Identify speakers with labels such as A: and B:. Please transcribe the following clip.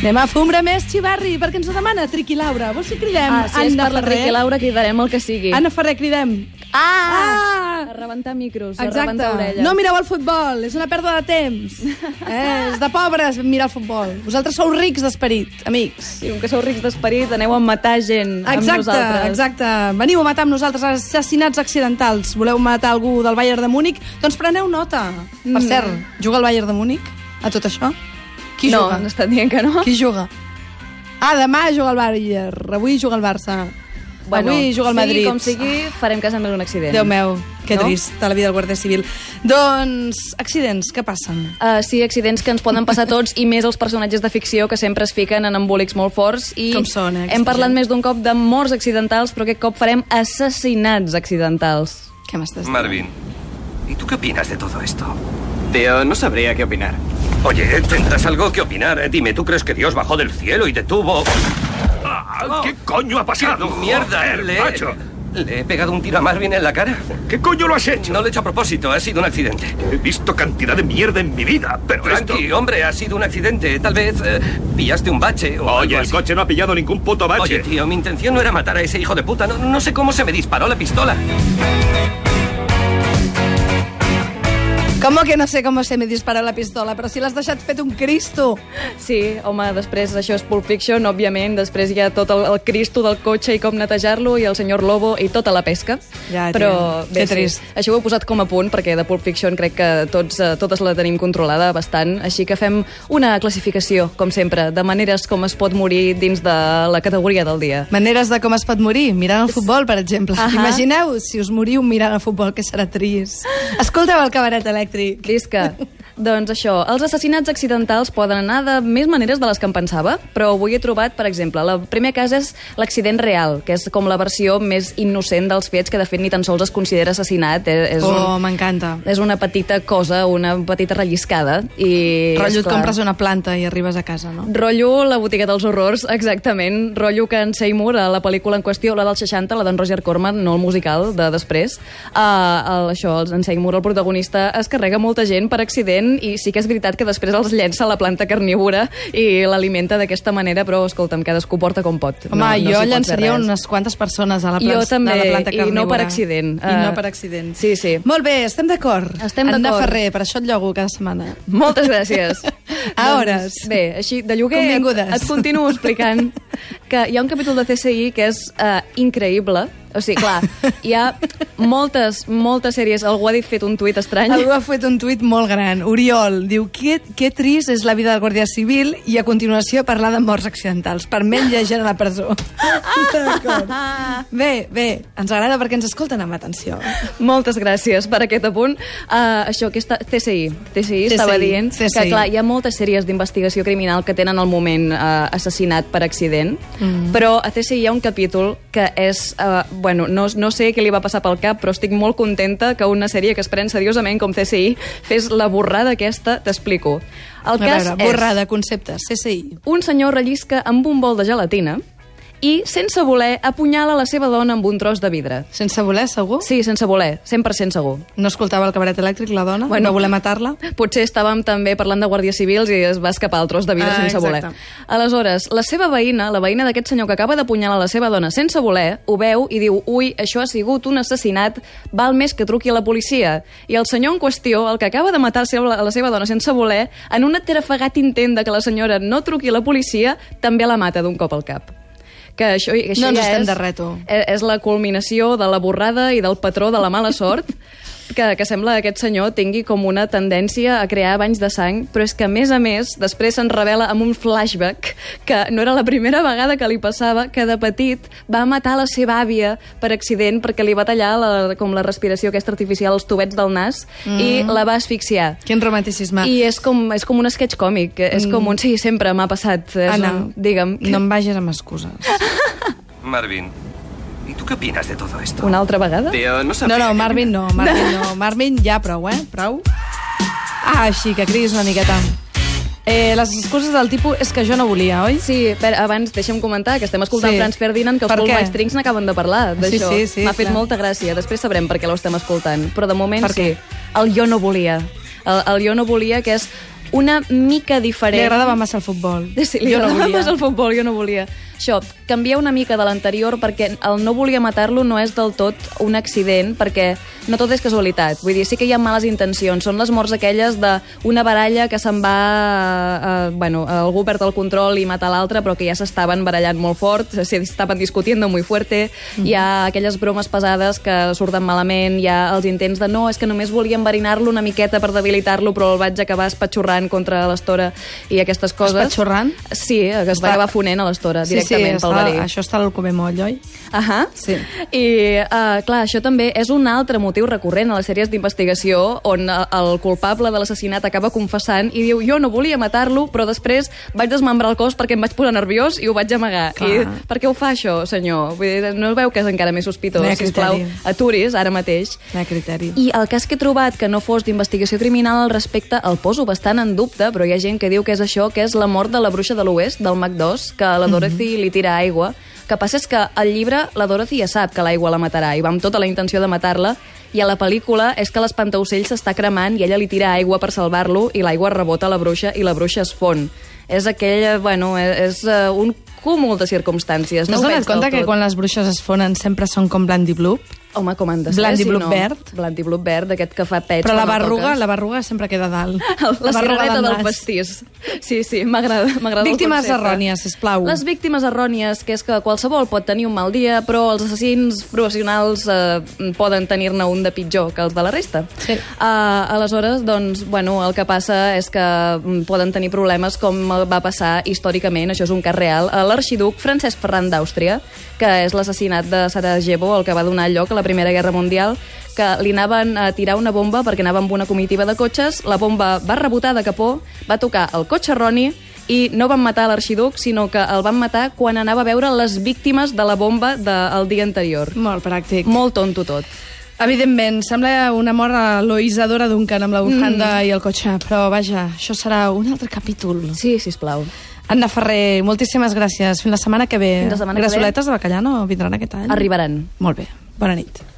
A: Anem a fer un bremés, Xivarri, perquè ens ho demana Triqui Laura. Vols que cridem?
B: Ah, si és per la Triqui Laura, cridarem el que sigui.
A: Anna Ferrer, cridem.
B: Ah! A rebentar micros, a rebentar orelles.
A: No mireu el futbol, és una pèrdua de temps. Eh, és de pobres mirar el futbol. Vosaltres sou rics d'esperit, amics.
B: Sí, com que sou rics d'esperit, aneu a matar gent amb
A: Exacte,
B: nosaltres.
A: exacte. Veniu a matar amb nosaltres assassinats accidentals. Voleu matar algú del Bayern de Múnich? Doncs preneu nota. Per
B: Mm.
A: cert, juga el Bayern de Múnich a tot això? Qui
B: no,
A: juga?
B: no estan dient que no.
A: Qui juga? Ah, demà juga el Bayern. Avui juga el Barça. Avui juga el Madrid.
B: Sigui com sigui, farem cas amb un accident.
A: Déu meu, que
B: No?
A: trist, a la vida del Guàrdia Civil. Doncs, accidents, què passen?
B: Uh, sí, accidents que ens poden passar a tots i més els personatges de ficció que sempre es fiquen en embolics molt forts i
A: Com són, eh,
B: hem
A: aquesta
B: parlat
A: gent.
B: més d'un cop de morts accidentals però aquest cop farem assassinats accidentals.
A: Què m'estàs dient?
C: Marvin, ¿y tú qué opinas de todo esto?
D: Tío, no sabría qué opinar.
C: Oye, tendrás algo que opinar. eh? Dime, ¿tú crees que Dios bajó del cielo y detuvo? Ah,
E: ¿Qué coño ha pasado?
C: mierda,
E: Joder,
C: le,
E: macho.
C: le he pegado un tiro a Marvin en la cara.
E: ¿Qué coño lo has hecho?
C: No lo he hecho a propósito, ha sido un accidente.
E: He visto cantidad de mierda en mi vida, pero
C: Frankie,
E: esto...
C: hombre, ha sido un accidente. Tal vez eh, pillaste un bache o
E: Oye,
C: algo
E: el
C: así.
E: coche no ha pillado ningún puto bache.
C: Oye, tío, mi intención no era matar a ese hijo de puta. No, no sé cómo se me disparó la pistola.
A: Com que no sé com se me dispara la pistola, però si l'has deixat fet un cristo.
B: Sí, home, després això és Pulp Fiction, òbviament, després hi ha tot el, el cristo del cotxe i com netejar-lo i el senyor Lobo i tota la pesca.
A: Ja, tia,
B: Però
A: que
B: bé,
A: trist.
B: Sí, això ho he posat com a punt perquè de Pulp Fiction crec que tots, eh, totes la tenim controlada bastant, així que fem una classificació, com sempre, de maneres com es pot morir dins de la categoria del dia.
A: Maneres de com es pot morir, mirant el futbol, per exemple.
B: Ahà.
A: Imagineu si us moriu mirant el futbol, que serà trist. Escolteu el cabaret elèctric.
B: Visca. Doncs això, els assassinats accidentals poden anar de més maneres de les que em pensava, però avui he trobat, per exemple, el primer cas és l'accident real, que és com la versió més innocent dels fets, que de fet ni tan sols es considera assassinat. eh, És, és,
A: Oh,
B: un,
A: m'encanta.
B: és una petita cosa, una petita relliscada. I,
A: Rotllo, et
B: esclar,
A: compres una planta i arribes a casa, no?
B: Rotllo la botiga dels horrors, exactament. Rotllo que en Seymour, a la pel·lícula en qüestió, la del 60, la d'en Roger Corman, no el musical de després, uh, el, això, en Seymour, el protagonista, es carrega molta gent per accident i sí que és veritat que després els llença a la planta carnívora i l'alimenta d'aquesta manera, però escolta'm, cadascú porta com pot.
A: Home,
B: s'hi
A: jo
B: pot fer
A: llançaria
B: res.
A: unes quantes persones a la,
B: Jo
A: planta,
B: també,
A: a la planta
B: i
A: carnívora.
B: no per accident.
A: I no
B: Eh,
A: per accident.
B: sí, sí.
A: Molt bé, estem d'acord.
B: Estem
A: Anna
B: d'acord.
A: Ferrer, per això et llogo cada setmana.
B: Moltes gràcies.
A: A hores.
B: Doncs, bé, així, de lloguer et,
A: Convingudes.
B: et continuo explicant que hi ha un capítol de CSI que és uh, increïble. O sigui, clar, hi ha moltes, moltes sèries. Algú ha dit fet un tuit estrany.
A: Algú ha fet un tuit molt gran. Oriol diu, que, que trist és la vida del Guàrdia Civil i a continuació parlar de morts accidentals. Per menys hi ha gent a la presó. D'acord. Bé, bé, ens agrada perquè ens escolten amb atenció.
B: Moltes gràcies per aquest apunt. Uh, això, aquesta CSI. CSI, estava dient que,
A: CSI.
B: clar, hi ha moltes sèries d'investigació criminal que tenen el moment uh, assassinat per accident, mm. però a CSI hi ha un capítol que és... Uh, bueno, no, no sé què li va passar pel cap, però estic molt contenta que una sèrie que es pren seriosament com CSI fes la borrada aquesta, t'explico. El
A: A
B: cas
A: veure,
B: és
A: borrar de conceptes, CSI.
B: un senyor rellisca amb un bol de gelatina i, sense voler, apunyala la seva dona amb un tros de vidre.
A: Sense voler, segur?
B: Sí, sense voler, 100% segur.
A: No escoltava el cabaret elèctric, la dona? Bueno. Va voler matar-la?
B: Potser estàvem també parlant de guàrdies civils i es va escapar el tros de vidre
A: Ah,
B: ah, sense voler.
A: exacte.
B: Aleshores, la seva veïna, la veïna d'aquest senyor que acaba d'apunyalar la seva dona sense voler, ho veu i diu, ui, això ha sigut un assassinat, val més que truqui a la policia. I el senyor en qüestió, el que acaba de matar seu- la seva dona sense voler, en un aterafegat intent de que la senyora no truqui a la policia, també la mata d'un cop al cap. Que això, i- això
A: No ens
B: ja
A: estem
B: és,
A: de reto.
B: eh, És la culminació de la borrada i del patró de la mala sort que, que sembla que aquest senyor tingui com una tendència a crear banys de sang, però és que, a més a més, després se'n revela amb un flashback que no era la primera vegada que li passava que de petit va matar la seva àvia per accident perquè li va tallar la, com la respiració aquesta artificial als tubets del nas mm. i la va asfixiar.
A: Quin romanticisme.
B: I és com, és com un sketch còmic, és com un sí, sempre m'ha passat. És
A: Anna,
B: un, digue'm,
A: Mm. Ah, no em vagis amb excuses.
C: Marvin, ¿y tú qué opinas de todo esto?
B: una altra vegada?
D: Tío, no
A: No,
D: sabría.
A: no, Marvin no, Marvin no. Marvin ja prou, eh? Prou. Ah, així, que cridis una miqueta. Eh, les excuses del tipus és que jo no volia, oi?
B: Sí, però abans deixa'm comentar que estem escoltant
A: Sí.
B: sí. Franz Ferdinand, que els
A: Per
B: Paul
A: què?
B: Maestrings n'acaben de parlar d'això.
A: Sí, sí, sí,
B: M'ha fet
A: clar.
B: molta gràcia, després sabrem per què l'estem escoltant. Però de moment
A: Per què?
B: sí, el jo no volia. El, el jo no volia, que és una mica
A: Li
B: diferent.
A: agradava massa el futbol.
B: Sí, li
A: jo no
B: agradava
A: volia.
B: més el futbol, jo no volia. Això, canviar una mica de l'anterior perquè el no volia matar-lo no és del tot un accident, perquè no tot és casualitat. Vull dir, sí que hi ha males intencions. Són les morts aquelles d'una baralla que se'n va... Eh, eh, bueno, algú perd el control i mata l'altre, però que ja s'estaven barallant molt fort, s'estaven discutiendo muy fuerte, hi ha aquelles bromes pesades que surten malament, hi ha els intents de no, és que només volia enverinar-lo una miqueta per debilitar-lo, però el vaig acabar espatxorrant contra l'estora i aquestes coses.
A: Espatxorrant?
B: Sí, que es
A: Està-
B: va acabar fonent a l'estora
A: sí,
B: directament
A: sí,
B: pel
A: està-
B: verí.
A: Això està al comer moll, oi?
B: Ahà.
A: Sí.
B: I, uh, clar, això també és un altre motiu recurrent a les sèries d'investigació on eh, el culpable de l'assassinat acaba confessant i diu, jo no volia matar-lo, però després vaig desmembrar el cos perquè em vaig posar nerviós i ho vaig amagar.
A: Clar.
B: I per què ho fa això, senyor? Vull dir, no veu que és encara més sospitós?
A: No hi ha
B: Sisplau,
A: criteri.
B: aturis ara mateix.
A: De criteri.
B: I el cas que he trobat que no fos d'investigació criminal al respecte el poso bastant en dubte, però hi ha gent que diu que és això, que és la mort de la bruixa de l'oest, del Mac 2, que
A: Mhm.
B: a la Dorothy li tira aigua. El que passa és que al llibre la Dorothy ja sap que l'aigua la matarà i va amb tota la intenció de matar-la, i a la pel·lícula és que l'espantaocell s'està cremant i ella li tira aigua per salvar-lo i l'aigua rebota a la bruixa i la bruixa es fon. És aquell, bueno, és, és eh, un cúmul de circumstàncies.
A: No
B: No,
A: has donat
B: ho veig del
A: compte que
B: tot.
A: quan les bruixes es fonen sempre són com Blandy Bloop?
B: Home, com han de ser,
A: Blanc i
B: si
A: blu
B: no?
A: verd.
B: Blanc i blu verd, aquest que fa pets.
A: Però la
B: quan el
A: barruga,
B: toques.
A: la barruga sempre queda dalt.
B: La, la cirereta
A: del
B: del
A: nas.
B: pastís. Sí, sí, m'agrada m'agrada el
A: Víctimes
B: concepte.
A: errònies, sisplau.
B: Les víctimes errònies, que és que qualsevol pot tenir un mal dia, però els assassins professionals eh, poden tenir-ne un de pitjor que els de la resta.
A: Sí.
B: Eh, aleshores, doncs, bueno, el que passa és que mm, poden tenir problemes com va passar històricament, això és un cas real, a l'arxiduc Francesc Ferran d'Àustria, que és l'assassinat de Sarajevo, el que va donar lloc a la Primera Guerra Mundial, que li anaven a tirar una bomba perquè anava amb una comitiva de cotxes, la bomba va rebotar de capó, va tocar el cotxe erroni i no van matar l'arxiduc, sinó que el van matar quan anava a veure les víctimes de la bomba del dia anterior.
A: Molt pràctic.
B: Molt tonto tot.
A: Evidentment, sembla una mort a Loïsadora Duncan amb la bufanda mm. i el cotxe, però vaja, això serà un altre capítol.
B: Sí, sisplau.
A: Anna Ferrer, moltíssimes gràcies. Fins la setmana que ve.
B: Fins la setmana que ve.
A: Grassoletes de bacallà no vindran aquest any?
B: Arribaran.
A: Molt bé. Bona nit.